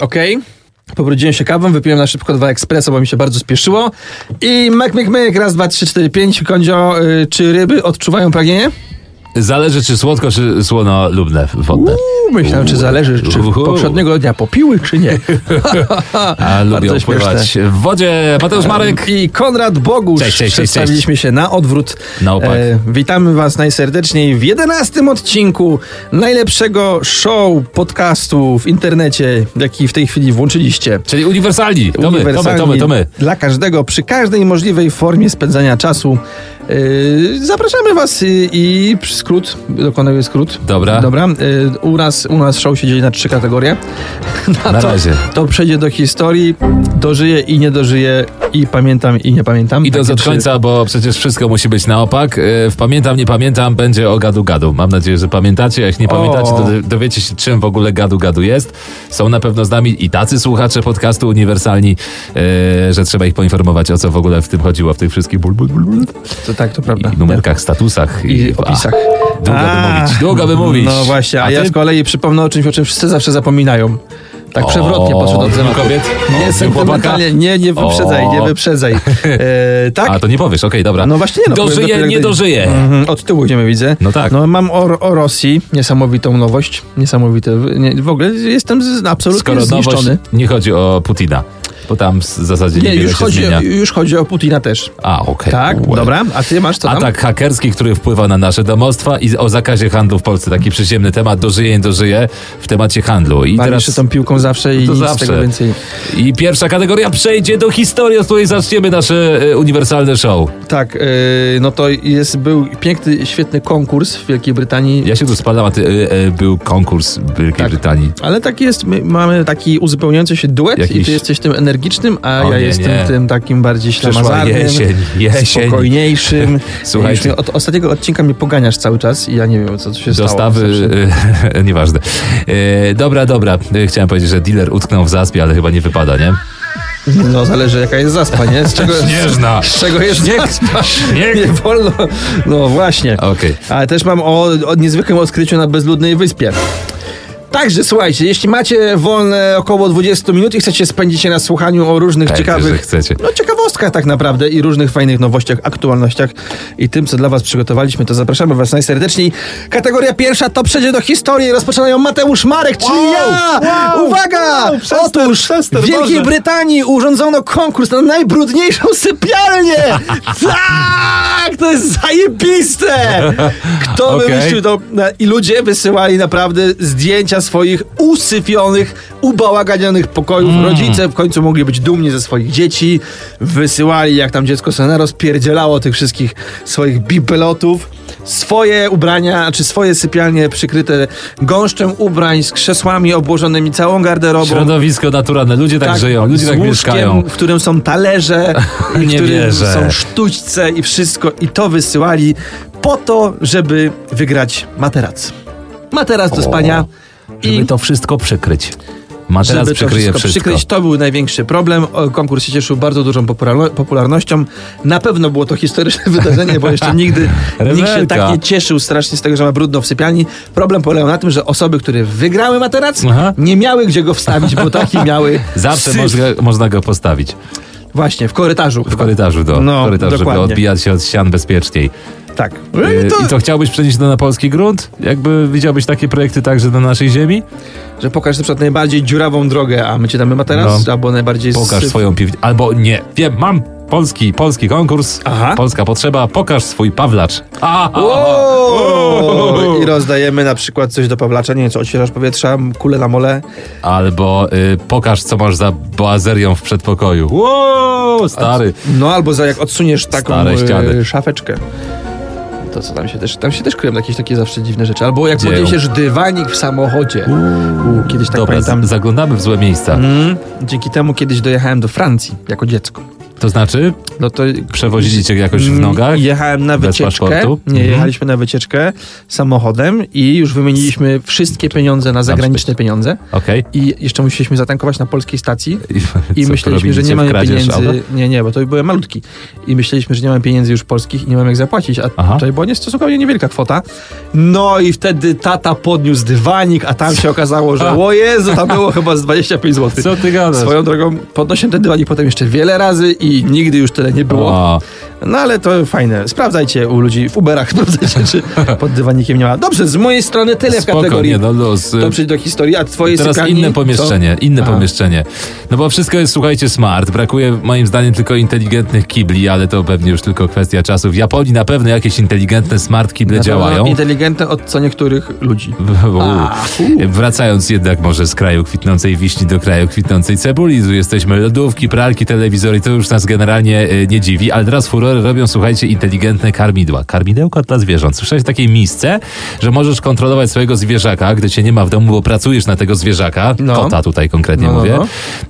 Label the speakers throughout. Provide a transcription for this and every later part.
Speaker 1: Okej. Pobrudziłem się kawą, wypiłem na szybko dwa ekspreso, bo mi się bardzo spieszyło. I myk, myk, myk, raz, dwa, trzy, cztery, pięć. Kondzio, y, czy ryby odczuwają pragnienie? Mm,
Speaker 2: Zależy czy słodko, czy słonolubne wodne.
Speaker 1: Uuu, myślałem, czy zależy, czy
Speaker 2: Uhu.
Speaker 1: poprzedniego dnia popiły, czy nie.
Speaker 2: A lubią
Speaker 1: śmieszne.
Speaker 2: pływać w wodzie. Mateusz Marek.
Speaker 1: I Konrad Bogusz.
Speaker 2: Cześć, cześć, cześć,
Speaker 1: Przedstawiliśmy się na odwrót. E,
Speaker 2: Na opak.
Speaker 1: witamy Was najserdeczniej w jedenastym odcinku najlepszego show podcastu w internecie, jaki w tej chwili włączyliście.
Speaker 2: Czyli uniwersalni. To my, to my, to my, to my.
Speaker 1: Dla każdego, przy każdej możliwej formie spędzania czasu. Yy, zapraszamy Was i, i skrót, dokonuję skrót.
Speaker 2: Dobra.
Speaker 1: Dobra. Yy, u, nas, u nas show się dzieli na trzy kategorie.
Speaker 2: Na
Speaker 1: to,
Speaker 2: razie.
Speaker 1: To przejdzie do historii, dożyje i nie dożyje, i pamiętam i nie pamiętam.
Speaker 2: I to
Speaker 1: Takie
Speaker 2: od
Speaker 1: trzy.
Speaker 2: końca, bo przecież wszystko musi być na opak. E, W pamiętam, nie pamiętam, będzie o gadu gadu. Mam nadzieję, że pamiętacie. Jak nie pamiętacie, to do- dowiecie się, czym w ogóle gadu gadu jest. Są na pewno z nami i tacy słuchacze podcastu uniwersalni, e, że trzeba ich poinformować, o co w ogóle w tym chodziło, w tych wszystkich bul, bul, bul, bul.
Speaker 1: To tak, to prawda.
Speaker 2: I numerkach, statusach
Speaker 1: I opisach.
Speaker 2: A, długo by
Speaker 1: A.
Speaker 2: mówić, długo by mówić.
Speaker 1: No właśnie, a, ja
Speaker 2: ty?
Speaker 1: z kolei przypomnę o czymś, o czym wszyscy zawsze zapominają. Tak przewrotnie
Speaker 2: O,
Speaker 1: podszedł do tematu.
Speaker 2: kobiet? O,
Speaker 1: Nie, sentymentalnie, nie, nie wyprzedzaj, nie
Speaker 2: No, O.
Speaker 1: wyprzedzaj. E, tak?
Speaker 2: A, to nie powiesz, okej, dobra.
Speaker 1: No właśnie, no, powiem
Speaker 2: dożyje,
Speaker 1: dopiero,
Speaker 2: nie
Speaker 1: gdy-
Speaker 2: dożyje.
Speaker 1: Mhm, od tyłu idziemy, widzę.
Speaker 2: No tak.
Speaker 1: No mam o, o Rosji niesamowitą nowość, niesamowite. w- Nie, w ogóle jestem z, absolutnie
Speaker 2: Skoro nowość,
Speaker 1: zniszczony.
Speaker 2: nie chodzi o Putina, bo tam w zasadzie
Speaker 1: nie,
Speaker 2: nie,
Speaker 1: już
Speaker 2: się
Speaker 1: chodzi,
Speaker 2: zmienia.
Speaker 1: już chodzi o Putina też.
Speaker 2: A, okej.
Speaker 1: Tak,
Speaker 2: Well.
Speaker 1: dobra, a ty masz co tam?
Speaker 2: Atak hakerski, który wpływa na nasze domostwa i o zakazie handlu w Polsce. Taki przyziemny temat, dożyje, nie dożyje w temacie handlu. I
Speaker 1: I
Speaker 2: teraz... No
Speaker 1: się tą piłką zawsze i
Speaker 2: To
Speaker 1: nic z
Speaker 2: zawsze.
Speaker 1: tego więcej.
Speaker 2: I pierwsza kategoria przejdzie do historii, od której zaczniemy nasze e, uniwersalne show.
Speaker 1: Tak, yy, no to jest, był piękny, świetny konkurs w Wielkiej Brytanii.
Speaker 2: Ja się tu spalam, a ty, e, e, był konkurs w Wielkiej
Speaker 1: Tak.
Speaker 2: Brytanii.
Speaker 1: Ale tak jest, my mamy taki uzupełniający się duet i
Speaker 2: Jakiś-
Speaker 1: ty jesteś tym energicznym, a
Speaker 2: O,
Speaker 1: ja
Speaker 2: nie,
Speaker 1: jestem
Speaker 2: nie.
Speaker 1: tym takim bardziej
Speaker 2: Przyszła
Speaker 1: ślamazarnym,
Speaker 2: jesień, jesień.
Speaker 1: spokojniejszym.
Speaker 2: Słuchajcie.
Speaker 1: Już mnie od ostatniego odcinka mnie poganiasz cały czas i ja nie wiem, co tu się
Speaker 2: Dostawy,
Speaker 1: stało. Zawsze-
Speaker 2: e, nieważne. E, dobra, dobra. E, chciałem powiedzieć, że dealer utknął w zaspie, ale chyba nie wypada, nie?
Speaker 1: No zależy jaka jest zaspa, nie? Z czego,
Speaker 2: Śnieżna.
Speaker 1: z czego jest
Speaker 2: Śnieg,
Speaker 1: zaspa?
Speaker 2: śnieg.
Speaker 1: Nie wolno. No właśnie.
Speaker 2: Okej.
Speaker 1: Ale też mam o, o niezwykłym odkryciu na bezludnej wyspie. Także słuchajcie, jeśli macie wolne około 20 minut i chcecie spędzić je na słuchaniu o różnych
Speaker 2: Pewnie, że
Speaker 1: ciekawych
Speaker 2: chcecie.
Speaker 1: no, ciekawostkach tak naprawdę i różnych fajnych nowościach, aktualnościach i tym, co dla was przygotowaliśmy, to zapraszamy was najserdeczniej. Kategoria pierwsza to przejdzie do historii. Rozpoczynają Mateusz Marek, czyli ja! Uwaga! Otóż w Wielkiej Brytanii urządzono konkurs na najbrudniejszą sypialnię! tak! To jest zajebiste! Kto
Speaker 2: Okej.
Speaker 1: wymyślił to? Na- I ludzie wysyłali naprawdę zdjęcia swoich usypionych, ubałaganionych pokojów.
Speaker 2: Mm.
Speaker 1: Rodzice w końcu mogli być dumni ze swoich dzieci. Wysyłali, jak tam dziecko sobie rozpierdzielało tych wszystkich swoich bibelotów. Swoje ubrania, czy swoje sypialnie przykryte gąszczem ubrań, z krzesłami obłożonymi całą garderobą.
Speaker 2: Środowisko naturalne, ludzie tak, żyją, ludzie
Speaker 1: z
Speaker 2: tak
Speaker 1: łóżkiem,
Speaker 2: mieszkają.
Speaker 1: w którym są talerze, i w
Speaker 2: Nie
Speaker 1: którym
Speaker 2: wierzę.
Speaker 1: są sztućce i wszystko. I to wysyłali po to, żeby wygrać materac. Materac do spania i
Speaker 2: to wszystko przykryć. Ma teraz
Speaker 1: żeby to
Speaker 2: przykryje
Speaker 1: wszystko,
Speaker 2: wszystko.
Speaker 1: przykryć. To był największy problem. O, Konkurs się cieszył bardzo dużą popularno- popularnością. Na pewno było to historyczne wydarzenie, bo jeszcze nigdy nikt się
Speaker 2: Rewelka.
Speaker 1: tak nie cieszył strasznie z tego, że ma brudno w sypialni. Problem polegał na tym, że osoby, które wygrały materac,
Speaker 2: Aha.
Speaker 1: nie miały gdzie go wstawić, bo taki miały
Speaker 2: Zawsze
Speaker 1: syf.
Speaker 2: można, można go postawić
Speaker 1: Właśnie, w korytarzu.
Speaker 2: w korytarzu, do,
Speaker 1: No,
Speaker 2: w korytarzu żeby
Speaker 1: dokładnie.
Speaker 2: odbijać się od ścian bezpieczniej.
Speaker 1: Tak.
Speaker 2: E, I to chciałbyś przenieść to na polski grunt? Jakby widziałbyś takie projekty także na naszej ziemi?
Speaker 1: Że pokaż na przykład najbardziej dziurawą drogę, a my ci damy materac,
Speaker 2: No.
Speaker 1: albo najbardziej...
Speaker 2: Pokaż
Speaker 1: syf-
Speaker 2: swoją piwnicę. Albo nie, wiem, mam polski, polski konkurs,
Speaker 1: Aha.
Speaker 2: polska potrzeba, pokaż swój pawlacz. A, a, a.
Speaker 1: O! I rozdajemy na przykład coś do Pawlacza, nie wiem, co odświeżasz powietrza, kulę na mole.
Speaker 2: Albo y, pokaż, co masz za boazerią w przedpokoju. Wow, stary.
Speaker 1: No albo za, jak odsuniesz taką
Speaker 2: Stare ściany.
Speaker 1: e, szafeczkę. To co tam się też, tam się też kryją jakieś takie zawsze dziwne rzeczy. Albo jak
Speaker 2: Dzieją.
Speaker 1: podniesiesz dywanik w samochodzie. U, kiedyś tak
Speaker 2: Dobra,
Speaker 1: pamiętam.
Speaker 2: z- zaglądamy w złe miejsca.
Speaker 1: Mm, dzięki temu kiedyś dojechałem do Francji jako dziecko.
Speaker 2: To znaczy,
Speaker 1: No to
Speaker 2: przewozili cię jakoś
Speaker 1: Mm,
Speaker 2: w nogach?
Speaker 1: Jechałem na
Speaker 2: Bez
Speaker 1: wycieczkę.
Speaker 2: paszportu?
Speaker 1: Nie,
Speaker 2: Mhm.
Speaker 1: jechaliśmy na wycieczkę samochodem i już wymieniliśmy wszystkie pieniądze na zagraniczne
Speaker 2: szczyt.
Speaker 1: pieniądze.
Speaker 2: Okej.
Speaker 1: I jeszcze musieliśmy zatankować na polskiej stacji.
Speaker 2: I,
Speaker 1: I
Speaker 2: co,
Speaker 1: myśleliśmy, że
Speaker 2: robiliście?
Speaker 1: nie mamy
Speaker 2: Wkradzież
Speaker 1: pieniędzy.
Speaker 2: auta?
Speaker 1: Nie, nie, bo to były malutki. I myśleliśmy, że nie mamy pieniędzy już polskich i nie mamy jak zapłacić. A
Speaker 2: Aha.
Speaker 1: tutaj była nie- stosunkowo niewielka kwota. No i wtedy tata podniósł dywanik, a tam się okazało, że o Jezu, tam było chyba z 25 zł.
Speaker 2: Co ty gadasz?
Speaker 1: Swoją drogą podnosiłem ten dywanik potem jeszcze wiele razy i nigdy już tyle nie było.
Speaker 2: O,
Speaker 1: No ale to fajne. Sprawdzajcie u ludzi w Uberach, sprawdzajcie, czy pod dywanikiem nie ma. Dobrze, z mojej strony tyle w
Speaker 2: spoko,
Speaker 1: kategorii.
Speaker 2: nie, no luz.
Speaker 1: To przyjdzie do historii, a twojej
Speaker 2: Teraz
Speaker 1: sypialni,
Speaker 2: inne pomieszczenie, inne
Speaker 1: Aha.
Speaker 2: pomieszczenie. No bo wszystko jest, słuchajcie, smart. Brakuje moim zdaniem tylko inteligentnych kibli, ale to pewnie już tylko kwestia czasu. W Japonii na pewno jakieś inteligentne smart kible
Speaker 1: Na pewno
Speaker 2: działają.
Speaker 1: Inteligentne od co niektórych ludzi.
Speaker 2: Uuu. Wracając jednak może z kraju kwitnącej wiśni do kraju kwitnącej cebuli, tu jesteśmy lodówki, pralki, telewizory, to już nas generalnie e, nie dziwi, ale teraz furory robią, słuchajcie, inteligentne karmidła. Karmidełka dla zwierząt. Słyszałeś o takiej misce, że możesz kontrolować swojego zwierzaka, gdy cię nie ma w domu, bo pracujesz na tego zwierzaka,
Speaker 1: No.
Speaker 2: kota tutaj konkretnie
Speaker 1: No, no,
Speaker 2: mówię.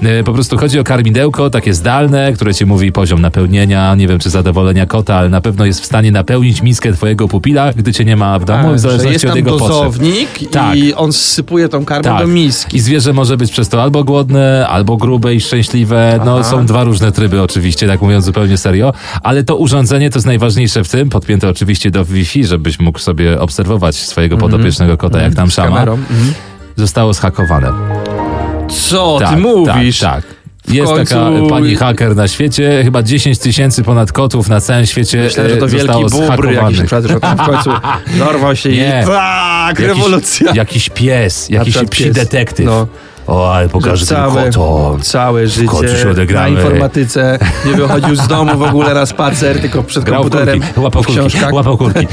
Speaker 1: no.
Speaker 2: E, Po prostu chodzi o karmidełko, takie zdalne, które ci mówi poziom napełnienia, nie wiem czy zadowolenia kota, ale na pewno jest w stanie napełnić miskę twojego pupila, gdy cię nie ma w domu, w
Speaker 1: Tak, że
Speaker 2: zależności
Speaker 1: jest
Speaker 2: od
Speaker 1: tam
Speaker 2: jego potrzeb.
Speaker 1: dozownik
Speaker 2: Tak.
Speaker 1: i on sypuje tą karmę
Speaker 2: Tak.
Speaker 1: do miski.
Speaker 2: I zwierzę może być przez to albo głodne, albo grube i szczęśliwe. No
Speaker 1: Aha.
Speaker 2: są dwa różne tryby oczywiście, tak mówiąc zupełnie serio, ale to urządzenie to jest najważniejsze w tym, podpięte oczywiście do Wi-Fi, żebyś mógł sobie obserwować swojego podopiecznego kota, jak tam
Speaker 1: Mhm. Z
Speaker 2: szama.
Speaker 1: kamerą. Mhm.
Speaker 2: Zostało zhakowane.
Speaker 1: Co ty mówisz?
Speaker 2: Tak, tak. Jest
Speaker 1: końcu-
Speaker 2: taka e, pani haker na świecie, chyba 10 tysięcy ponad kotów na całym świecie
Speaker 1: Myślę, że to
Speaker 2: e,
Speaker 1: wielki
Speaker 2: zostało
Speaker 1: bubr jakiś
Speaker 2: zhakowanych.
Speaker 1: przed, że tam w końcu dorwał się
Speaker 2: Nie.
Speaker 1: i tak,
Speaker 2: Jakiś-
Speaker 1: rewolucja.
Speaker 2: Jakiś pies,
Speaker 1: Na
Speaker 2: jakiś
Speaker 1: przykład
Speaker 2: psi
Speaker 1: pies.
Speaker 2: detektyw.
Speaker 1: No.
Speaker 2: O, ale pokażę
Speaker 1: całe,
Speaker 2: tym kotom.
Speaker 1: całe
Speaker 2: końcu się
Speaker 1: życie na
Speaker 2: odegramy.
Speaker 1: informatyce, nie wychodził z domu w ogóle na spacer, tylko przed
Speaker 2: Grał
Speaker 1: komputerem,
Speaker 2: kurki, łapał
Speaker 1: w
Speaker 2: kurki,
Speaker 1: książkach.
Speaker 2: łapał kurki.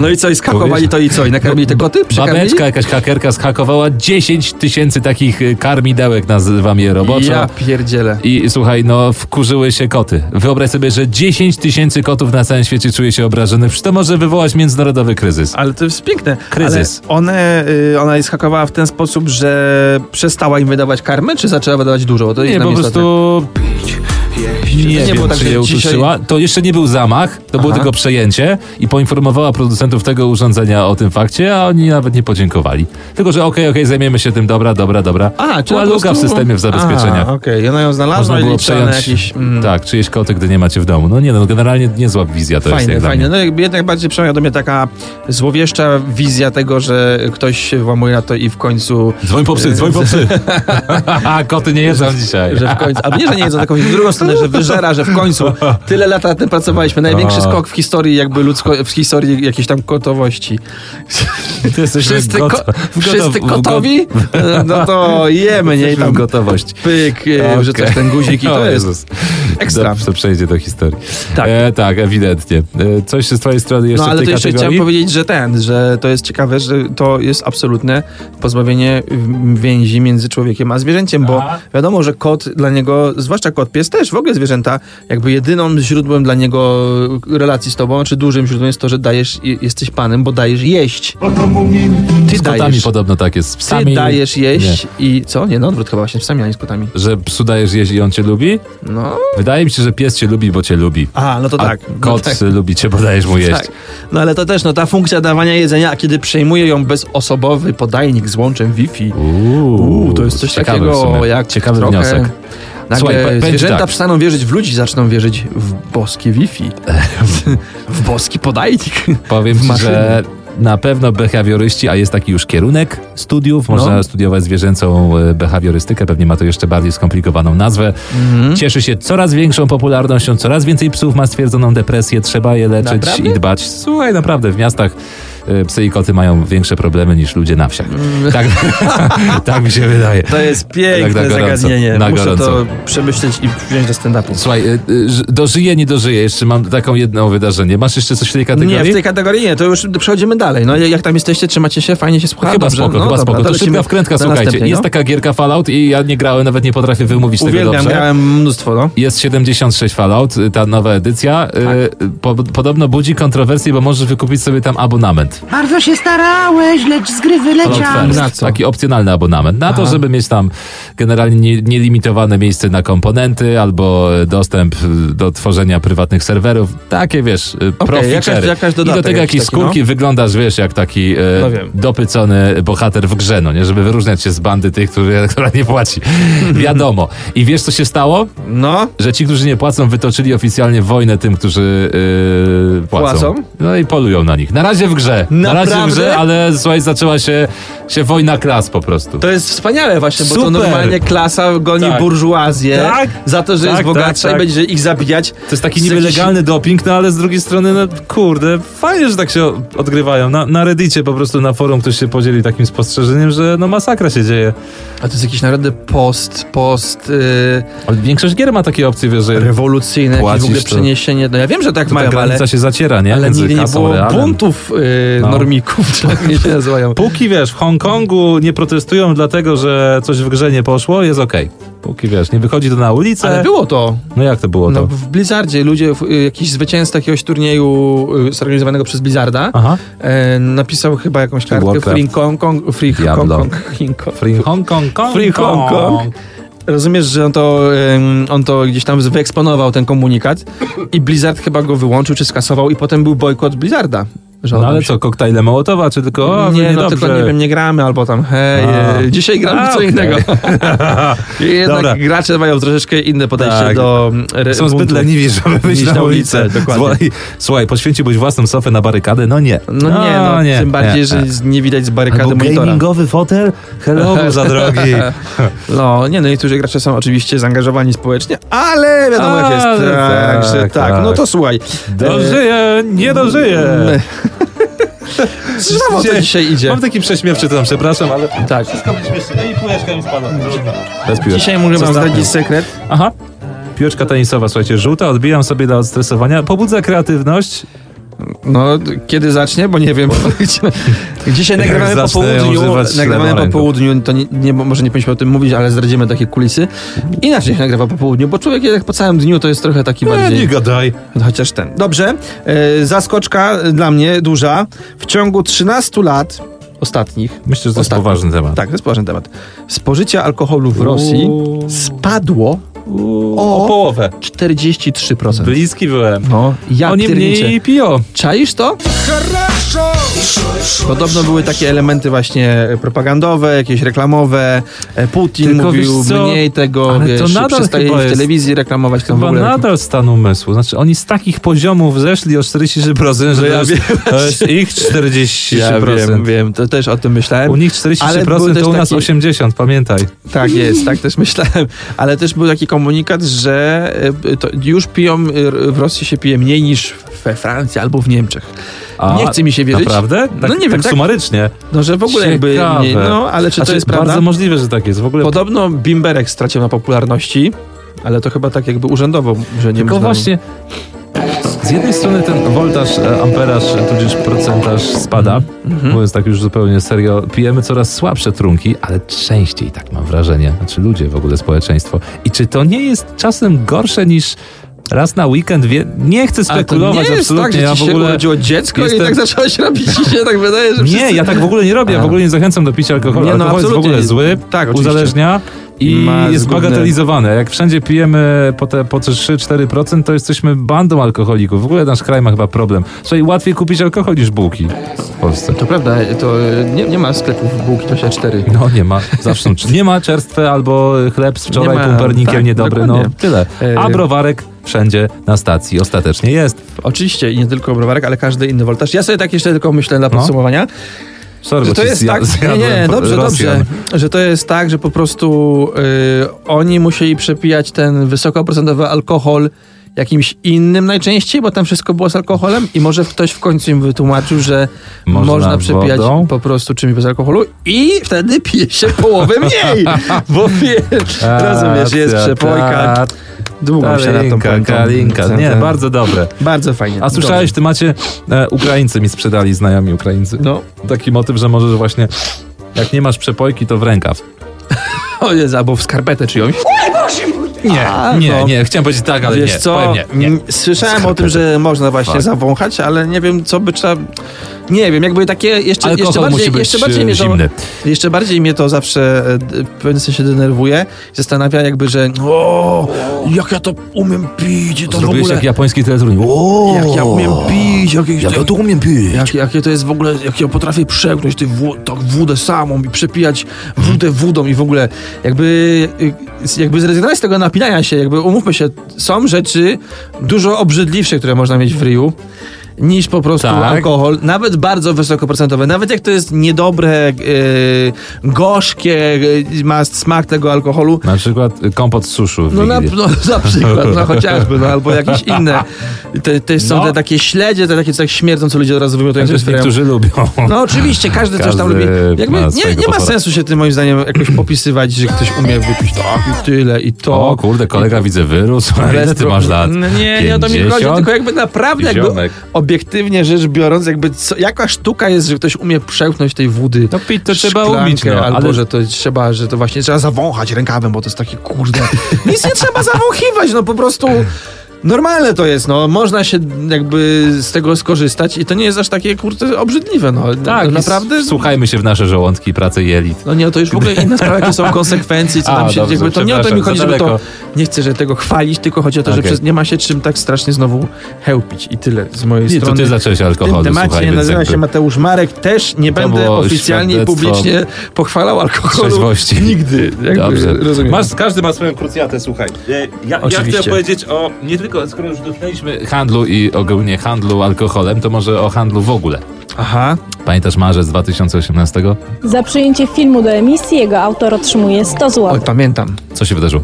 Speaker 1: No i co, i skakowali to i co, i nakarmili te koty? Przekarmili?
Speaker 2: Babeczka, jakaś hakerka skakowała 10 tysięcy takich y, karmidełek, nazywam je roboczo.
Speaker 1: Ja pierdzielę.
Speaker 2: I słuchaj, no wkurzyły się koty. Wyobraź sobie, że 10 tysięcy kotów na całym świecie czuje się obrażonych. Przecież to może wywołać międzynarodowy kryzys.
Speaker 1: Ale to jest piękne.
Speaker 2: Kryzys.
Speaker 1: Ale one, y, ona je skakowała w ten sposób, że przestała im wydawać karmy, czy zaczęła wydawać dużo? Bo To jest
Speaker 2: Nie,
Speaker 1: nam
Speaker 2: po
Speaker 1: istotne.
Speaker 2: prostu nie,
Speaker 1: nie
Speaker 2: wiem,
Speaker 1: było tak,
Speaker 2: czy
Speaker 1: że
Speaker 2: je
Speaker 1: dzisiaj-
Speaker 2: utuszyła. To jeszcze nie był zamach, to było
Speaker 1: Aha.
Speaker 2: tylko przejęcie i poinformowała producentów tego urządzenia o tym fakcie, a oni nawet nie podziękowali. Tylko, że okej, okej, zajmiemy się tym, dobra, dobra, dobra.
Speaker 1: A, czy
Speaker 2: Była
Speaker 1: po
Speaker 2: luka w
Speaker 1: prostu-
Speaker 2: systemie w zabezpieczeniach.
Speaker 1: A, Okej, I ona ją znalazła
Speaker 2: Można
Speaker 1: i
Speaker 2: było
Speaker 1: liczyła na
Speaker 2: przejąć
Speaker 1: jakiś... Mm,
Speaker 2: tak, czyjeś koty, gdy nie macie w domu. No nie no, generalnie niezła wizja to jest
Speaker 1: Fajne,
Speaker 2: jak
Speaker 1: fajne.
Speaker 2: Dla mnie.
Speaker 1: No jakby jednak bardziej przemawia do mnie taka złowieszcza wizja tego, że ktoś się włamuje na to i w końcu
Speaker 2: Dzwoń po psy, dzwoń po psy. koty nie jeżdżą dzisiaj.
Speaker 1: że w końcu, a nie, że nie jedzą taką w drugą stronę, że wyżera, że w końcu tyle lat nad tym pracowaliśmy. Największy
Speaker 2: A.
Speaker 1: skok w historii jakby ludzko, w historii jakiejś tam gotowości.
Speaker 2: Ty jesteś
Speaker 1: Wszyscy,
Speaker 2: goto-
Speaker 1: ko-
Speaker 2: w goto-
Speaker 1: wszyscy
Speaker 2: w
Speaker 1: gotowi? E, No to jemy, nie? I
Speaker 2: Jesteśmy w
Speaker 1: tam
Speaker 2: gotowość.
Speaker 1: pyk, okay. że coś
Speaker 2: Okej.
Speaker 1: ten guzik i
Speaker 2: O
Speaker 1: to jest
Speaker 2: Jezus.
Speaker 1: ekstra.
Speaker 2: Dobrze, przejdzie do historii.
Speaker 1: Tak.
Speaker 2: Tak, e, tak ewidentnie. E, coś z twojej strony jeszcze
Speaker 1: No ale to
Speaker 2: w tej
Speaker 1: jeszcze
Speaker 2: kategorii?
Speaker 1: chciałem powiedzieć, że ten, że to jest ciekawe, że to jest absolutne pozbawienie w- więzi między człowiekiem a zwierzęciem, bo
Speaker 2: Aha.
Speaker 1: wiadomo, że kot dla niego, zwłaszcza kot pies też, w ogóle zwierzęta, jakby jedyną źródłem dla niego relacji z tobą, czy dużym źródłem jest to, że dajesz, i- jesteś panem, bo dajesz jeść. Ty
Speaker 2: Z kotami
Speaker 1: dajesz,
Speaker 2: podobno tak jest. Z psami.
Speaker 1: ty dajesz jeść i co? Nie, no odwrót chyba właśnie z psami, a nie z kotami.
Speaker 2: Że psu dajesz jeść i on cię lubi?
Speaker 1: No.
Speaker 2: Wydaje mi się, że pies cię lubi, bo cię lubi.
Speaker 1: A, no to
Speaker 2: A
Speaker 1: tak.
Speaker 2: kot
Speaker 1: no tak.
Speaker 2: lubi cię, bo dajesz mu jeść.
Speaker 1: Tak. No ale to też, no ta funkcja dawania jedzenia, a kiedy przejmuje ją bezosobowy podajnik z łączem Wi-Fi,
Speaker 2: Uuu,
Speaker 1: Uuu, to jest coś
Speaker 2: ciekawy w
Speaker 1: takiego
Speaker 2: sumie.
Speaker 1: jak
Speaker 2: Ciekawy
Speaker 1: trochę...
Speaker 2: wniosek.
Speaker 1: Nagle
Speaker 2: Słuchaj, pe- pędź
Speaker 1: zwierzęta
Speaker 2: tak.
Speaker 1: przestaną wierzyć w ludzi, zaczną wierzyć w boskie Wi-Fi. w boski podajnik.
Speaker 2: Powiem ci,
Speaker 1: maszyny.
Speaker 2: że na pewno behawioryści, a jest taki już kierunek studiów, można
Speaker 1: No.
Speaker 2: studiować zwierzęcą e, behawiorystykę, pewnie ma to jeszcze bardziej skomplikowaną nazwę.
Speaker 1: Mhm.
Speaker 2: Cieszy się coraz większą popularnością, coraz więcej psów ma stwierdzoną depresję, trzeba je leczyć
Speaker 1: Naprawdę?
Speaker 2: i dbać. Słuchaj, naprawdę w miastach e, psy i koty mają większe problemy niż ludzie na wsiach.
Speaker 1: Mm.
Speaker 2: Tak, tak mi się wydaje.
Speaker 1: To jest piękne
Speaker 2: Tak na gorąco,
Speaker 1: zagadnienie.
Speaker 2: na
Speaker 1: Muszę to
Speaker 2: gorąco.
Speaker 1: przemyśleć i wziąć do stand-upu.
Speaker 2: Słuchaj, e, e, ż- dożyję, nie dożyję, jeszcze mam taką jedno wydarzenie. Masz jeszcze coś w tej kategorii?
Speaker 1: Nie, w tej kategorii nie, to już przechodzimy dalej. No jak tam jesteście, trzymacie się, fajnie się słucha?
Speaker 2: Chyba
Speaker 1: Dobrze,
Speaker 2: spoko,
Speaker 1: no,
Speaker 2: chyba
Speaker 1: dobra,
Speaker 2: spoko. To
Speaker 1: lecimy
Speaker 2: szybka wkrętka,
Speaker 1: do
Speaker 2: słuchajcie.
Speaker 1: następnej,
Speaker 2: Jest
Speaker 1: no.
Speaker 2: taka gierka Fallout i ja nie grałem, nawet nie potrafię wymówić tego
Speaker 1: Uwielbiam,
Speaker 2: dobrze.
Speaker 1: grałem mnóstwo, no.
Speaker 2: Jest 76
Speaker 1: Tak.
Speaker 2: Fallout, y, ta nowa edycja. Y, po, podobno budzi kontrowersje, bo możesz wykupić sobie tam abonament.
Speaker 1: abonament.
Speaker 3: Bardzo się starałeś, lecz z gry wyleciałem.
Speaker 1: Na co?
Speaker 2: Taki opcjonalny abonament. Na to, żeby mieć tam generalnie nie- nielimitowane miejsce na komponenty albo e, dostęp e, do tworzenia prywatnych serwerów. Takie, wiesz, e, pro
Speaker 1: jakaś-
Speaker 2: feature.
Speaker 1: jakaś
Speaker 2: I do
Speaker 1: dodatek
Speaker 2: tego
Speaker 1: jakiś
Speaker 2: jakieś
Speaker 1: taki, no.
Speaker 2: skórki. Wyglądasz, wiesz, jak taki e,
Speaker 1: No wiem.
Speaker 2: dopycony bohater w grze, no nie? Żeby wyróżniać się z bandy tych, którzy, która nie płaci. Wiadomo. I wiesz, co się stało?
Speaker 1: No,
Speaker 2: Że ci, którzy nie płacą, wytoczyli oficjalnie wojnę tym, którzy yy, płacą.
Speaker 1: Płacą?
Speaker 2: No i polują na nich. Na razie w grze. Na
Speaker 1: Naprawdę?
Speaker 2: razie w grze, ale słuchaj, zaczęła się, się wojna klas po prostu.
Speaker 1: to jest wspaniale właśnie, bo to
Speaker 2: Super.
Speaker 1: normalnie klasa goni
Speaker 2: Tak.
Speaker 1: burżuazję
Speaker 2: Tak.
Speaker 1: za to, że
Speaker 2: Tak,
Speaker 1: jest
Speaker 2: tak,
Speaker 1: bogatsza
Speaker 2: tak.
Speaker 1: i będzie ich zabijać. To
Speaker 2: jest taki niby legalny doping, no ale z drugiej strony, no kurde, fajnie, że tak się o- odgrywają. Na, na Reddicie po prostu, na forum ktoś się podzieli takim spostrzeżeniem, że no masakra się dzieje.
Speaker 1: A to jest jakiś narodny post, post y,
Speaker 2: Ale większość gier ma takie opcje, wiesz, że
Speaker 1: rewolucyjny, jakieś
Speaker 2: Płacisz
Speaker 1: w ogóle
Speaker 2: to.
Speaker 1: przeniesienie. No ja wiem, że tak
Speaker 2: ta
Speaker 1: mają, ale,
Speaker 2: granica się zaciera, nie?
Speaker 1: ale
Speaker 2: Między
Speaker 1: nigdy nie
Speaker 2: kasą,
Speaker 1: było
Speaker 2: realem.
Speaker 1: buntów y,
Speaker 2: No.
Speaker 1: normików, czy jak oni się nazywają.
Speaker 2: Póki wiesz, w Hongkongu nie protestują dlatego, że coś w grze nie poszło, jest okej. Póki wiesz, nie wychodzi to na ulicę.
Speaker 1: Ale było to.
Speaker 2: No jak to było
Speaker 1: No,
Speaker 2: to?
Speaker 1: w Blizzardzie ludzie, w- y, jakiś zwycięzca jakiegoś turnieju y, zorganizowanego przez Blizzarda
Speaker 2: Aha.
Speaker 1: e, napisał chyba jakąś kartkę
Speaker 2: Warcraft.
Speaker 1: Free Hong Kong, Free Hong
Speaker 2: Diablo.
Speaker 1: Kong, Hong Kong.
Speaker 2: Free Hong Kong, Kong,
Speaker 1: Free Hong Kong. Rozumiesz, że on to, ym, on to gdzieś tam wyeksponował, ten komunikat i Blizzard chyba go wyłączył czy skasował i potem był bojkot Blizzarda. Że on
Speaker 2: No ale
Speaker 1: tam się-
Speaker 2: co, koktajle Mołotowa, czy tylko o,
Speaker 1: nie, no
Speaker 2: dobrze.
Speaker 1: tylko nie wiem, nie gramy albo tam hej,
Speaker 2: A.
Speaker 1: e, dzisiaj gramy
Speaker 2: A,
Speaker 1: w co
Speaker 2: okej.
Speaker 1: innego. I Jednak
Speaker 2: Dobra.
Speaker 1: gracze mają troszeczkę inne podejście
Speaker 2: Tak.
Speaker 1: do e, re,
Speaker 2: Są zbyt
Speaker 1: buntu.
Speaker 2: leniwi, żeby wyjść
Speaker 1: Iść
Speaker 2: na
Speaker 1: na
Speaker 2: ulicę.
Speaker 1: ulicę, dokładnie.
Speaker 2: Słuchaj, słuchaj, poświęciłbyś własną sofę na barykadę? No nie.
Speaker 1: No nie, no,
Speaker 2: nie, E,
Speaker 1: tym bardziej,
Speaker 2: nie. tak.
Speaker 1: że z- nie widać z barykady
Speaker 2: Albo
Speaker 1: monitora.
Speaker 2: gamingowy fotel? Hello, był za drogi.
Speaker 1: No, nie, no niektórzy gracze są oczywiście zaangażowani społecznie, ale wiadomo jak jest.
Speaker 2: Ale
Speaker 1: Tak,
Speaker 2: tak,
Speaker 1: że tak,
Speaker 2: tak.
Speaker 1: No to słuchaj. E,
Speaker 2: Dożyję, nie dożyję.
Speaker 1: Mm. Znowu No to dzisiaj idzie.
Speaker 2: Mam taki prześmiewczy tam, przepraszam, ale...
Speaker 1: Tak.
Speaker 2: no I piłeczka mi spada. Bez piłeczki.
Speaker 1: Dzisiaj mogę wam
Speaker 2: Zostawmy.
Speaker 1: zdradzić sekret.
Speaker 2: Aha. Piłeczka tenisowa, słuchajcie, żółta, odbijam sobie dla odstresowania, pobudza kreatywność.
Speaker 1: No, d- kiedy zacznie, bo nie wiem. Dzisiaj
Speaker 2: Jak
Speaker 1: nagrywamy po
Speaker 2: zacznę
Speaker 1: południu.
Speaker 2: używać
Speaker 1: Nagrywamy po
Speaker 2: ślemaręku.
Speaker 1: południu, to nie, nie, może nie powinniśmy o tym mówić, ale zdradzimy takie kulisy. Inaczej się nagrywa po południu, bo człowiek jednak po całym dniu to jest trochę taki bardziej... No,
Speaker 2: gadaj.
Speaker 1: Chociaż ten. Dobrze. E, zaskoczka dla mnie duża. W ciągu 13 lat ostatnich.
Speaker 2: Myślę, że to jest
Speaker 1: Ostatni.
Speaker 2: poważny temat.
Speaker 1: Tak, to jest poważny temat. Spożycie alkoholu w Rosji
Speaker 2: Uuu.
Speaker 1: spadło
Speaker 2: Uuu,
Speaker 1: O.
Speaker 2: o połowę.
Speaker 1: 43%.
Speaker 2: Bliski byłem.
Speaker 1: No, ja
Speaker 2: Oni
Speaker 1: pierniczę.
Speaker 2: mniej piją.
Speaker 1: Czaisz to? Podobno były takie elementy właśnie propagandowe, jakieś reklamowe. E, Putin
Speaker 2: Tylko
Speaker 1: mówił
Speaker 2: wiesz co?
Speaker 1: mniej tego,
Speaker 2: Ale to
Speaker 1: wiesz,
Speaker 2: nadal
Speaker 1: przestaje
Speaker 2: chyba
Speaker 1: w
Speaker 2: jest-
Speaker 1: telewizji reklamować tam w
Speaker 2: Chyba
Speaker 1: ogóle.
Speaker 2: nadal stan umysłu. Znaczy, oni z takich poziomów zeszli o 43%, że
Speaker 1: No Ja
Speaker 2: to,
Speaker 1: wiem.
Speaker 2: jest, to jest ich 43%.
Speaker 1: Ja wiem, wiem, to też o tym myślałem.
Speaker 2: U nich
Speaker 1: Ale były
Speaker 2: 43%,
Speaker 1: też
Speaker 2: to u nas
Speaker 1: takie-
Speaker 2: 80%, pamiętaj.
Speaker 1: Tak jest, tak też myślałem. Ale też był taki komunikat, że y, to już piją, y, w Rosji się pije mniej niż we Francji albo w Niemczech.
Speaker 2: A,
Speaker 1: nie chce mi się wierzyć.
Speaker 2: Naprawdę? Tak,
Speaker 1: No nie wiem,
Speaker 2: tak
Speaker 1: tak-
Speaker 2: sumarycznie.
Speaker 1: No, że w ogóle jakby
Speaker 2: Ciekawe.
Speaker 1: mniej, no, ale czy
Speaker 2: Znaczy,
Speaker 1: to jest prawda?
Speaker 2: Bardzo możliwe, że tak jest. W ogóle
Speaker 1: Podobno Bimberek stracił na popularności, ale to chyba tak jakby urzędowo, że nie
Speaker 2: Tylko
Speaker 1: można-
Speaker 2: właśnie z jednej strony ten woltaż, e, amperaż, e, tudzież procentaż spada,
Speaker 1: Mhm.
Speaker 2: mówiąc tak już zupełnie serio, pijemy coraz słabsze trunki, ale częściej tak mam wrażenie, znaczy ludzie w ogóle, społeczeństwo. I czy to nie jest czasem gorsze niż raz na weekend? Wie... Nie chcę
Speaker 1: Ale to
Speaker 2: spekulować
Speaker 1: nie jest
Speaker 2: absolutnie,
Speaker 1: tak, że
Speaker 2: ja
Speaker 1: ci
Speaker 2: w
Speaker 1: się
Speaker 2: ogóle...
Speaker 1: urodziło dziecko i
Speaker 2: jestem-
Speaker 1: tak zacząłeś robić i się tak wydaje, że
Speaker 2: Nie,
Speaker 1: wszyscy...
Speaker 2: ja tak w ogóle nie robię, ja w
Speaker 1: A.
Speaker 2: ogóle nie zachęcam do picia alkoholu.
Speaker 1: Nie, no,
Speaker 2: Alkohol jest w
Speaker 1: absolutnie.
Speaker 2: ogóle zły,
Speaker 1: Tak, oczywiście.
Speaker 2: uzależnia i
Speaker 1: Ma
Speaker 2: jest
Speaker 1: zgubne-
Speaker 2: bagatelizowane. Jak wszędzie pijemy po te po te 3-4%, to jesteśmy bandą alkoholików. W ogóle nasz kraj ma chyba problem. Słuchaj, łatwiej kupić alkohol niż bułki w Polsce.
Speaker 1: To prawda, to y, nie, nie ma sklepów bułki 24.
Speaker 2: No nie ma, zawsze nie ma czerstwe albo chleb z wczoraj
Speaker 1: Nie ma,
Speaker 2: pumpernikiem
Speaker 1: tak,
Speaker 2: niedobry, no
Speaker 1: dokładnie.
Speaker 2: tyle. A
Speaker 1: Yy.
Speaker 2: browarek wszędzie na stacji ostatecznie jest.
Speaker 1: Oczywiście, i nie tylko browarek, ale każdy inny woltaż. Ja sobie tak jeszcze tylko myślę dla podsumowania,
Speaker 2: Sorry,
Speaker 1: że
Speaker 2: bo
Speaker 1: to
Speaker 2: ci
Speaker 1: jest
Speaker 2: zja-
Speaker 1: tak, nie,
Speaker 2: zjadłem
Speaker 1: nie,
Speaker 2: po-
Speaker 1: dobrze,
Speaker 2: Rosjan.
Speaker 1: dobrze, że to jest tak, że po prostu y, oni musieli przepijać ten wysokoprocentowy alkohol jakimś innym najczęściej, bo tam wszystko było z alkoholem i może ktoś w końcu im wytłumaczył, że
Speaker 2: Można
Speaker 1: można, przepijać
Speaker 2: wodą?
Speaker 1: po prostu czymś bez alkoholu i wtedy pije się połowę mniej, bo wiesz, rozumiesz, jest
Speaker 2: Racja,
Speaker 1: przepojka,
Speaker 2: tak.
Speaker 1: długo się nad tą
Speaker 2: Kalinka,
Speaker 1: pętą-
Speaker 2: kalinka. Nie,
Speaker 1: ten-
Speaker 2: bardzo dobre.
Speaker 1: bardzo fajnie.
Speaker 2: A słyszałeś
Speaker 1: Dobrze.
Speaker 2: w temacie e, Ukraińcy mi sprzedali znajomi Ukraińcy.
Speaker 1: No,
Speaker 2: Taki motyw, że możesz właśnie jak nie masz przepojki, to w rękaw.
Speaker 1: o jest, albo w skarpetę czyjąś.
Speaker 2: Nie,
Speaker 1: A,
Speaker 2: nie,
Speaker 1: no.
Speaker 2: nie, chciałem powiedzieć tak, ale
Speaker 1: Wiesz
Speaker 2: nie,
Speaker 1: co, Mm,
Speaker 2: powiem nie, nie.
Speaker 1: m, słyszałem o
Speaker 2: Skarpety.
Speaker 1: tym, że można właśnie
Speaker 2: Fuck.
Speaker 1: zawąchać, ale nie wiem, co by trzeba... Nie wiem, jakby takie jeszcze,
Speaker 2: Alkohol
Speaker 1: jeszcze bardziej,
Speaker 2: musi być,
Speaker 1: jeszcze bardziej
Speaker 2: e,
Speaker 1: mnie
Speaker 2: zimny.
Speaker 1: To, jeszcze bardziej mnie to zawsze e, d- w pewnym sensie denerwuje. Zastanawia jakby, że o, jak ja to umiem pić, to w
Speaker 2: Zrobiłeś
Speaker 1: ogóle...
Speaker 2: jak japoński teleturniej. O,
Speaker 1: jak ja umiem pić, jak, jak,
Speaker 2: to umiem pić.
Speaker 1: jak, jakie to jest w ogóle, jak ja potrafię przełknąć tę wó- tą wódę samą i przepijać wódę wódą i w ogóle jakby, jakby zrezygnować z tego napinania się, jakby umówmy się, są rzeczy dużo obrzydliwsze, które można mieć w ryju niż po prostu
Speaker 2: Tak.
Speaker 1: alkohol, nawet bardzo wysokoprocentowy, nawet jak to jest niedobre, yy, gorzkie, yy, ma smak tego alkoholu,
Speaker 2: Na przykład y, kompot z suszu. w Tak,
Speaker 1: no na,
Speaker 2: Wigilię.
Speaker 1: no, na przykład, no chociażby, no albo jakieś inne. Te, te są
Speaker 2: No. Znaczy,
Speaker 1: te takie śledzie, te takie co tak śmierdzą, co ludzie od razu wymiotują.
Speaker 2: Chociaż
Speaker 1: jak otwierają.
Speaker 2: niektórzy lubią.
Speaker 1: No oczywiście, każdy, coś tam
Speaker 2: Każdy
Speaker 1: lubi.
Speaker 2: ma
Speaker 1: Jakby, nie,
Speaker 2: swojego
Speaker 1: nie ma
Speaker 2: potwora.
Speaker 1: sensu się tym moim zdaniem jakoś popisywać, że ktoś umie wypić tak i tyle i to.
Speaker 2: O kurde, kolega widzę wyrósł. Ile
Speaker 1: Bez
Speaker 2: ty masz
Speaker 1: problemu.
Speaker 2: lat?
Speaker 1: No Nie, nie o to mi chodzi,
Speaker 2: 50?
Speaker 1: tylko jakby naprawdę, jakby
Speaker 2: Ziomek.
Speaker 1: obiektywnie rzecz biorąc, jakby co, jaka sztuka jest, że ktoś umie przełknąć tej wody.
Speaker 2: No pić to trzeba
Speaker 1: szklankę,
Speaker 2: umieć, no.
Speaker 1: Albo,
Speaker 2: ale-
Speaker 1: że to trzeba, że to właśnie trzeba zawąchać rękawem, bo to jest takie kurde. Nic nie trzeba zawąchiwać, no po prostu... Normalne to jest, no. Można się jakby z tego skorzystać i to nie jest aż takie, kurde, obrzydliwe, no.
Speaker 2: Tak,
Speaker 1: no,
Speaker 2: i
Speaker 1: naprawdę...
Speaker 2: Słuchajmy się w nasze żołądki, pracę jelit.
Speaker 1: No nie, to już w ogóle inna sprawa, jakie są konsekwencje, co
Speaker 2: A,
Speaker 1: tam się
Speaker 2: dobrze,
Speaker 1: jakby To nie o to mi
Speaker 2: przepraszam,
Speaker 1: chodzi,
Speaker 2: za
Speaker 1: żeby to...
Speaker 2: daleko.
Speaker 1: Nie chcę, że tego chwalić, tylko chodzi o to, że
Speaker 2: Okej.
Speaker 1: przez, nie ma się czym tak strasznie znowu chełpić. I tyle z mojej
Speaker 2: Nie, to
Speaker 1: strony.
Speaker 2: ty zacząłeś
Speaker 1: w tym
Speaker 2: alkoholu,
Speaker 1: temacie
Speaker 2: słuchaj, więc
Speaker 1: nazywa
Speaker 2: jakby
Speaker 1: się Mateusz Marek. Też nie
Speaker 2: To
Speaker 1: będę
Speaker 2: było
Speaker 1: oficjalnie i
Speaker 2: świadectwo
Speaker 1: publicznie pochwalał alkoholu.
Speaker 2: trzeźwości.
Speaker 1: Nigdy. Jakby,
Speaker 2: Dobrze.
Speaker 1: Rozumiem.
Speaker 4: Masz, każdy ma swoją krucjatę, słuchaj. E, Ja, ja
Speaker 1: Oczywiście.
Speaker 4: chcę powiedzieć o, nie tylko, skoro już dotknęliśmy
Speaker 2: handlu i ogólnie handlu alkoholem, to może o handlu w ogóle.
Speaker 1: Aha.
Speaker 2: Pamiętasz marzec 2018?
Speaker 5: Za przyjęcie filmu do emisji jego autor otrzymuje 100
Speaker 1: Oj,
Speaker 5: zł.
Speaker 1: pamiętam.
Speaker 2: Co się wydarzyło?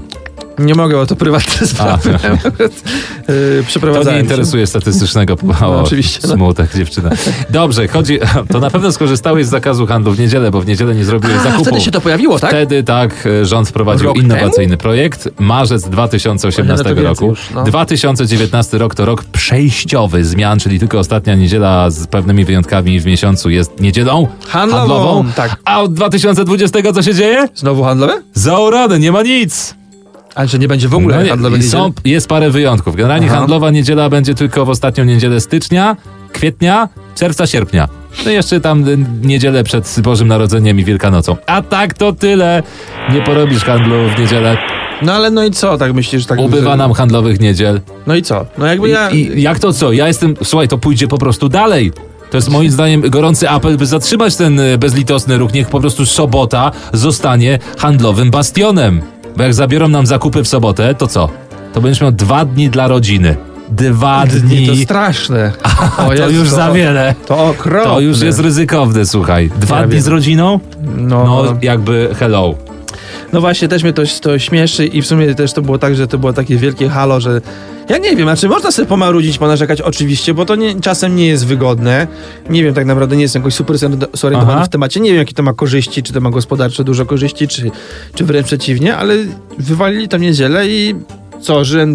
Speaker 1: Nie mogę, bo to prywatne sprawy. Yy,
Speaker 2: To
Speaker 1: Przeprowadzałem
Speaker 2: nie
Speaker 1: się.
Speaker 2: interesuje statystycznego
Speaker 1: No,
Speaker 2: o,
Speaker 1: oczywiście, no.
Speaker 2: Smutek, dziewczyna. Dobrze, chodzi. To na pewno skorzystałeś z zakazu handlu w niedzielę, bo w niedzielę nie zrobiłeś
Speaker 1: A,
Speaker 2: zakupu.
Speaker 1: wtedy się to pojawiło, tak?
Speaker 2: Wtedy tak e, rząd wprowadził
Speaker 1: Rok
Speaker 2: innowacyjny projekt. Marzec
Speaker 1: No
Speaker 2: 2018
Speaker 1: to więcej
Speaker 2: roku.
Speaker 1: już, no.
Speaker 2: 2019 rok to rok przejściowy zmian, czyli tylko ostatnia niedziela z pewnymi wyjątkami w miesiącu jest niedzielą
Speaker 1: Handlową, tak.
Speaker 2: A od 2020 co się dzieje?
Speaker 1: Znowu handlowe?
Speaker 2: Zaorane, nie ma nic.
Speaker 1: A że nie będzie w ogóle
Speaker 2: No nie,
Speaker 1: handlowe
Speaker 2: i są,
Speaker 1: niedzieli?
Speaker 2: jest parę wyjątków. Generalnie
Speaker 1: Aha.
Speaker 2: handlowa niedziela będzie tylko w ostatnią niedzielę stycznia, kwietnia, czerwca, sierpnia. No i jeszcze tam y, niedzielę przed Bożym Narodzeniem i Wielkanocą. A tak to tyle. Nie porobisz handlu w niedzielę.
Speaker 1: No ale no i co, tak myślisz? tak?
Speaker 2: Ubywa
Speaker 1: że-
Speaker 2: nam handlowych niedziel.
Speaker 1: No i co? No jakby ja...
Speaker 2: I, I jak to co? Ja jestem. Słuchaj, to pójdzie po prostu dalej. To jest moim zdaniem gorący apel, by zatrzymać ten y, bezlitosny ruch. Niech po prostu sobota zostanie handlowym bastionem. Bo jak zabiorą nam zakupy w sobotę, to co? To będziesz miał dwa dni dla rodziny. Dwa dni.
Speaker 1: To straszne. O,
Speaker 2: to
Speaker 1: Jezu,
Speaker 2: już za wiele.
Speaker 1: To okropne.
Speaker 2: To już jest ryzykowne, słuchaj. Dwa
Speaker 1: Ja
Speaker 2: dni
Speaker 1: wiem.
Speaker 2: z rodziną?
Speaker 1: No,
Speaker 2: No,
Speaker 1: no,
Speaker 2: jakby hello.
Speaker 1: właśnie, też mnie to, to śmieszy i w sumie też to było tak, że to było takie wielkie halo, że ja nie wiem, znaczy można sobie pomarudzić, ponarzekać oczywiście, bo to nie, czasem nie jest wygodne. Nie wiem, tak naprawdę nie jestem jakoś super zorientowany
Speaker 2: Aha.
Speaker 1: w temacie. Nie wiem, jakie to ma korzyści, czy to ma gospodarcze dużo korzyści, czy, czy wręcz przeciwnie, ale wywalili tam niedzielę i co, że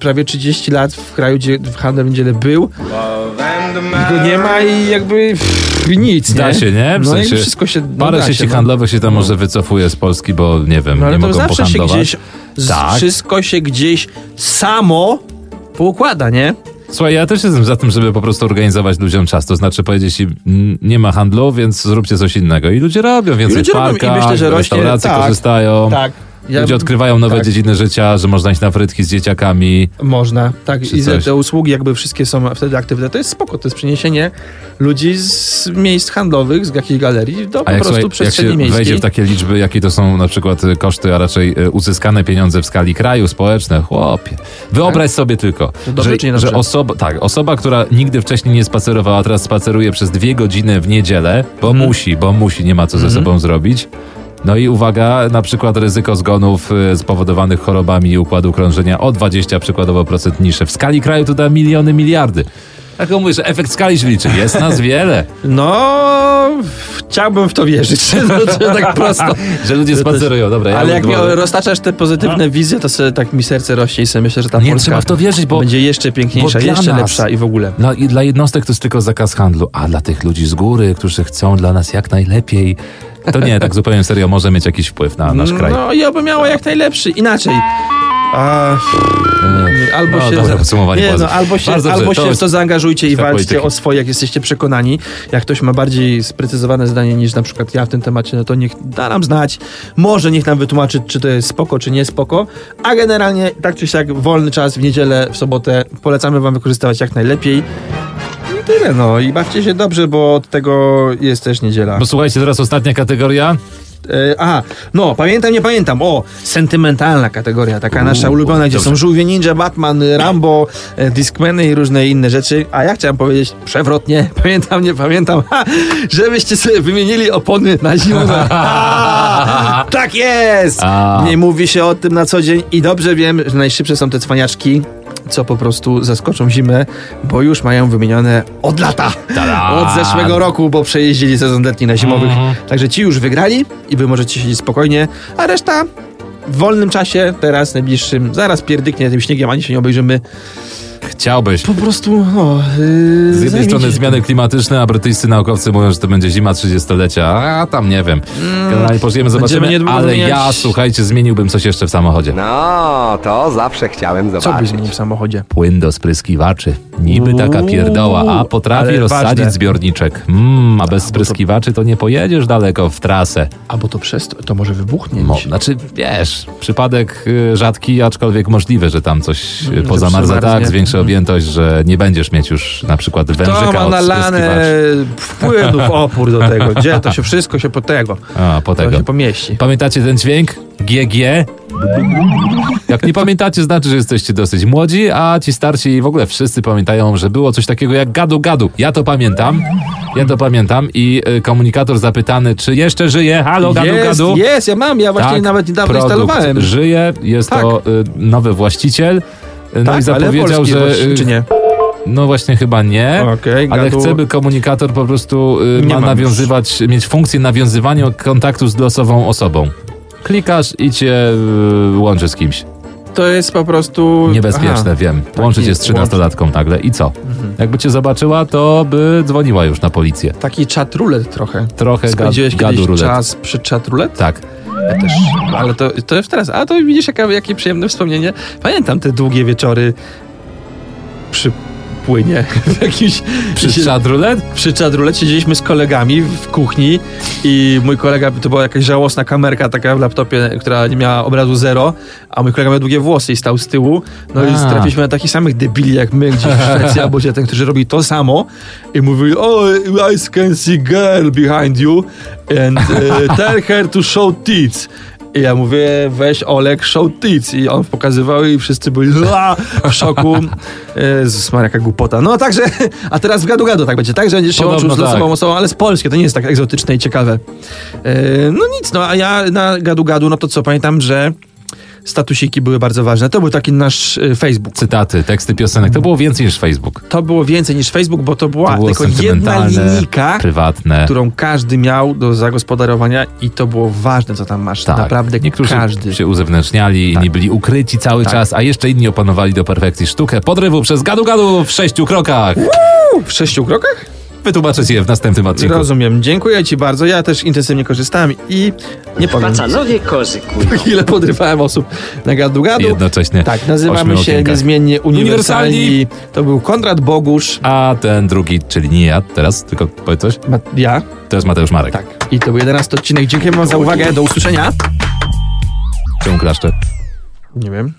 Speaker 1: prawie 30 lat w kraju, gdzie w handel niedzielę był, i go nie ma i jakby pff, nic,
Speaker 2: Da
Speaker 1: nie?
Speaker 2: się, nie? W
Speaker 1: no
Speaker 2: sensie
Speaker 1: i wszystko się... No,
Speaker 2: Parę
Speaker 1: da
Speaker 2: sieci
Speaker 1: no.
Speaker 2: handlowych się tam może wycofuje z Polski, bo nie wiem,
Speaker 1: No ale
Speaker 2: nie
Speaker 1: to
Speaker 2: mogą
Speaker 1: zawsze się
Speaker 2: pohandlować.
Speaker 1: gdzieś. z-
Speaker 2: Tak.
Speaker 1: Wszystko się gdzieś samo poukłada, nie?
Speaker 2: Słuchaj, ja też jestem za tym, żeby po prostu organizować ludziom czas. To znaczy powiedzieć im, "Mm, nie ma handlu, więc zróbcie coś innego. I ludzie robią więcej
Speaker 1: ludzie
Speaker 2: w
Speaker 1: robią i
Speaker 2: parkach,
Speaker 1: myślę, że rośnie-
Speaker 2: restauracje
Speaker 1: tak,
Speaker 2: korzystają.
Speaker 1: Tak. Ja,
Speaker 2: Ludzie odkrywają nowe
Speaker 1: tak.
Speaker 2: dziedziny życia, że można iść na frytki z dzieciakami.
Speaker 1: można, tak.
Speaker 2: Czy
Speaker 1: I te,
Speaker 2: coś.
Speaker 1: te usługi jakby wszystkie są wtedy aktywne. To jest spoko, to jest przeniesienie ludzi z miejsc handlowych, z jakichś galerii do
Speaker 2: A
Speaker 1: po
Speaker 2: jak,
Speaker 1: prostu
Speaker 2: słuchaj, jak się
Speaker 1: przestrzeni
Speaker 2: wejdzie
Speaker 1: miejskiej.
Speaker 2: w tak- takie liczby, jakie to są na przykład y, koszty, a raczej y, uzyskane pieniądze w skali kraju, społeczne, chłopie. Wyobraź sobie tylko,
Speaker 1: Tak? To dobrze czy
Speaker 2: że,
Speaker 1: niedobrze?
Speaker 2: że osoba, tak, osoba, która nigdy wcześniej nie spacerowała, a teraz spaceruje przez dwie godziny w niedzielę, bo
Speaker 1: Mhm.
Speaker 2: musi, bo musi, nie ma co ze sobą zrobić. No i uwaga, na przykład ryzyko zgonów y, spowodowanych chorobami układu krążenia o 20 przykładowo procent niższe. W skali kraju to da miliony, miliardy. Tak jak mówisz, efekt skali się liczy. Jest nas wiele.
Speaker 1: No, chciałbym w to wierzyć. No, to tak prosto.
Speaker 2: że ludzie
Speaker 1: To też-
Speaker 2: spacerują, dobra. ja
Speaker 1: Ale jak mi
Speaker 2: udowodnię.
Speaker 1: roztaczasz te pozytywne wizje, to sobie tak mi serce rośnie i sobie myślę, że ta
Speaker 2: Nie,
Speaker 1: Polska
Speaker 2: trzeba w to wierzyć, bo-
Speaker 1: będzie jeszcze piękniejsza,
Speaker 2: bo dla
Speaker 1: jeszcze
Speaker 2: nas-
Speaker 1: lepsza i w ogóle.
Speaker 2: Dla, i dla jednostek to jest tylko zakaz handlu, a dla tych ludzi z góry, którzy chcą dla nas jak najlepiej, to nie, tak zupełnie serio, może mieć jakiś wpływ na nasz kraj.
Speaker 1: No i oby miało jak najlepszy. Inaczej. A,
Speaker 2: E,
Speaker 1: a albo
Speaker 2: No,
Speaker 1: się.
Speaker 2: dobre podsumowanie,
Speaker 1: nie,
Speaker 2: bardzo-
Speaker 1: no, albo się,
Speaker 2: bardzo dobrze,
Speaker 1: albo
Speaker 2: to
Speaker 1: się w
Speaker 2: jest
Speaker 1: to zaangażujcie i
Speaker 2: świat
Speaker 1: walczcie
Speaker 2: polityki.
Speaker 1: o swoje, jak jesteście przekonani. Jak ktoś ma bardziej sprecyzowane zdanie niż na przykład ja w tym temacie, no to niech da nam znać. Może niech nam wytłumaczy, czy to jest spoko, czy nie spoko. A generalnie, tak czy siak, wolny czas w niedzielę, w sobotę polecamy wam wykorzystywać jak najlepiej. I tyle, no i bawcie się dobrze, bo od tego jest też niedziela.
Speaker 2: Bo słuchajcie, teraz ostatnia kategoria.
Speaker 1: E, aha, no, pamiętam, nie pamiętam. O, sentymentalna kategoria, taka nasza
Speaker 2: Uuu,
Speaker 1: ulubiona, gdzie
Speaker 2: dobrze.
Speaker 1: są żółwie ninja, Batman, Rambo, e, Discmeny i różne inne rzeczy. A ja chciałem powiedzieć przewrotnie, pamiętam, nie pamiętam, ha, żebyście sobie wymienili opony na zimę. A, tak jest!
Speaker 2: A.
Speaker 1: Nie mówi się o tym na co dzień i dobrze wiem, że najszybsze są te cwaniaczki, co po prostu zaskoczą zimę, bo już mają wymienione od lata.
Speaker 2: Ta-da!
Speaker 1: Od zeszłego roku, bo przejeździli sezon letni na zimowych. Także ci już wygrali i wy możecie siedzieć spokojnie, a reszta w wolnym czasie, teraz najbliższym, zaraz pierdyknie tym śniegiem, ani się nie obejrzymy.
Speaker 2: Chciałbyś.
Speaker 1: Po prostu, no... Yy,
Speaker 2: Z jednej
Speaker 1: zajmijcie
Speaker 2: strony
Speaker 1: się
Speaker 2: zmiany
Speaker 1: tym.
Speaker 2: klimatyczne, a brytyjscy naukowcy mówią, że to będzie zima 30-lecia. A tam nie wiem. Generalnie
Speaker 1: Mm.
Speaker 2: pożyjemy,
Speaker 1: Będziemy
Speaker 2: zobaczymy.
Speaker 1: niedługo
Speaker 2: Ale
Speaker 1: wymieniać-
Speaker 2: ja, słuchajcie, zmieniłbym coś jeszcze w samochodzie.
Speaker 6: No, to zawsze chciałem
Speaker 1: Co byś
Speaker 6: zobaczyć.
Speaker 1: zmienił w samochodzie?
Speaker 2: Płyn do spryskiwaczy. Niby taka pierdoła, a potrafi
Speaker 1: ale
Speaker 2: rozsadzić
Speaker 1: ważne. No
Speaker 2: zbiorniczek. Mm, a bez spryskiwaczy to nie pojedziesz daleko w trasę.
Speaker 1: Albo to przez to, to może wybuchnie.
Speaker 2: Mo, znaczy, wiesz, przypadek y, rzadki, aczkolwiek możliwy, że tam coś
Speaker 1: Mm,
Speaker 2: y, pozamarza
Speaker 1: przemarznie.
Speaker 2: tak, zwiększy objętość, że nie będziesz mieć już na przykład
Speaker 1: Mm. To
Speaker 2: wężyka
Speaker 1: ma
Speaker 2: od
Speaker 1: nalane
Speaker 2: spryskiwaczy.
Speaker 1: wpłynów opór do tego. Gdzie to się wszystko się po tego,
Speaker 2: A, po
Speaker 1: tego.
Speaker 2: tego.
Speaker 1: się pomieści.
Speaker 2: Pamiętacie ten dźwięk? GG? Jak nie pamiętacie, znaczy, że jesteście dosyć młodzi, a ci starsi i w ogóle wszyscy pamiętają, że było coś takiego jak gadu gadu. Ja to pamiętam. Ja to pamiętam i y, komunikator zapytany, czy jeszcze żyje? Halo, gadu
Speaker 1: jest,
Speaker 2: gadu.
Speaker 1: jest, ja mam, ja właśnie nawet niedawno
Speaker 2: Tak, produkt
Speaker 1: instalowałem.
Speaker 2: Żyje, jest
Speaker 1: Tak.
Speaker 2: to y, nowy właściciel. y,
Speaker 1: tak,
Speaker 2: No i
Speaker 1: ale E?
Speaker 2: zapowiedział,
Speaker 1: polski,
Speaker 2: że.
Speaker 1: właśnie,
Speaker 2: y,
Speaker 1: Czy nie?
Speaker 2: No właśnie chyba nie.
Speaker 1: Okej,
Speaker 2: ale
Speaker 1: gadu.
Speaker 2: chcę, by komunikator po prostu y,
Speaker 1: Nie
Speaker 2: ma
Speaker 1: mam
Speaker 2: nawiązywać, mieć funkcję nawiązywania kontaktu z losową osobą. Klikasz i cię y, łączy z kimś.
Speaker 1: To jest po prostu...
Speaker 2: Niebezpieczne,
Speaker 1: Aha. Mhm.
Speaker 2: wiem. Łączy cię z
Speaker 1: jest,
Speaker 2: 13-latką nagle i co? Jakby cię zobaczyła, to by dzwoniła już na policję.
Speaker 1: Taki czat rulet trochę.
Speaker 2: Trochę ga-
Speaker 1: Spędziłeś
Speaker 2: gadu
Speaker 1: kiedyś
Speaker 2: rulet.
Speaker 1: czas przy czat rulet?
Speaker 2: Tak.
Speaker 1: Ale to, to już teraz. A to widzisz, jaka, jakie przyjemne wspomnienie. Pamiętam te długie wieczory przy płynie w jakimś...
Speaker 2: Przy
Speaker 1: się-
Speaker 2: czat rulet?
Speaker 1: przy czadrule siedzieliśmy z kolegami w kuchni i mój kolega, to była jakaś żałosna kamerka taka w laptopie, która nie miała obrazu zero, a mój kolega miał długie włosy i stał z tyłu. No
Speaker 2: A.
Speaker 1: i trafiliśmy na takich samych debili jak my gdzieś w Szwecji albo gdzie ten, którzy robi to samo i mówili, o, I can see girl behind you and e, tell her to show tits. I ja mówię, weź Olek, show tits. I on pokazywał i wszyscy byli "Ua!" w szoku. E, Jezus Maria, jaka głupota. No także, a teraz w gadu gadu tak będzie, tak? Że będziesz się
Speaker 2: Podobno
Speaker 1: łączył z losową
Speaker 2: tak.
Speaker 1: osobą, ale z Polski, to nie jest tak egzotyczne i ciekawe. E, no nic, no a ja na gadu gadu, no to co, pamiętam, że statusiki były bardzo ważne. To był taki nasz e, Facebook.
Speaker 2: Cytaty, teksty piosenek. To było więcej niż Facebook.
Speaker 1: To było więcej niż Facebook, bo to była
Speaker 2: To było
Speaker 1: tylko jedna
Speaker 2: sentymentalne,
Speaker 1: linijka
Speaker 2: prywatne.
Speaker 1: którą każdy miał do zagospodarowania i to było ważne, co tam masz.
Speaker 2: Tak.
Speaker 1: Naprawdę
Speaker 2: Niektórzy
Speaker 1: każdy.
Speaker 2: się uzewnętrzniali, inni byli ukryci cały
Speaker 1: Tak.
Speaker 2: czas, a jeszcze inni opanowali do perfekcji sztukę podrywu przez gadu-gadu w sześciu krokach.
Speaker 1: U, w sześciu krokach?
Speaker 2: Wytłumaczę ci je w następnym odcinku.
Speaker 1: Rozumiem. Dziękuję ci bardzo. Ja też intensywnie korzystałem i nie powiem
Speaker 7: Pacanowie kozy kujną.
Speaker 1: ile podrywałem osób na gadu gadu.
Speaker 2: Jednocześnie
Speaker 1: Tak, nazywamy
Speaker 2: ośmiu
Speaker 1: się
Speaker 2: okienkach.
Speaker 1: niezmiennie uniwersalni.
Speaker 2: Uniwersalni.
Speaker 1: To był Konrad Bogusz.
Speaker 2: A ten drugi, czyli nie ja teraz, tylko powiedz coś,
Speaker 1: Ma- Ja.
Speaker 2: to jest Mateusz Marek.
Speaker 1: Tak. I to był 11 odcinek. Dziękuję wam za uwagę. Do usłyszenia.
Speaker 2: Czemu klaszcze?
Speaker 1: Nie wiem.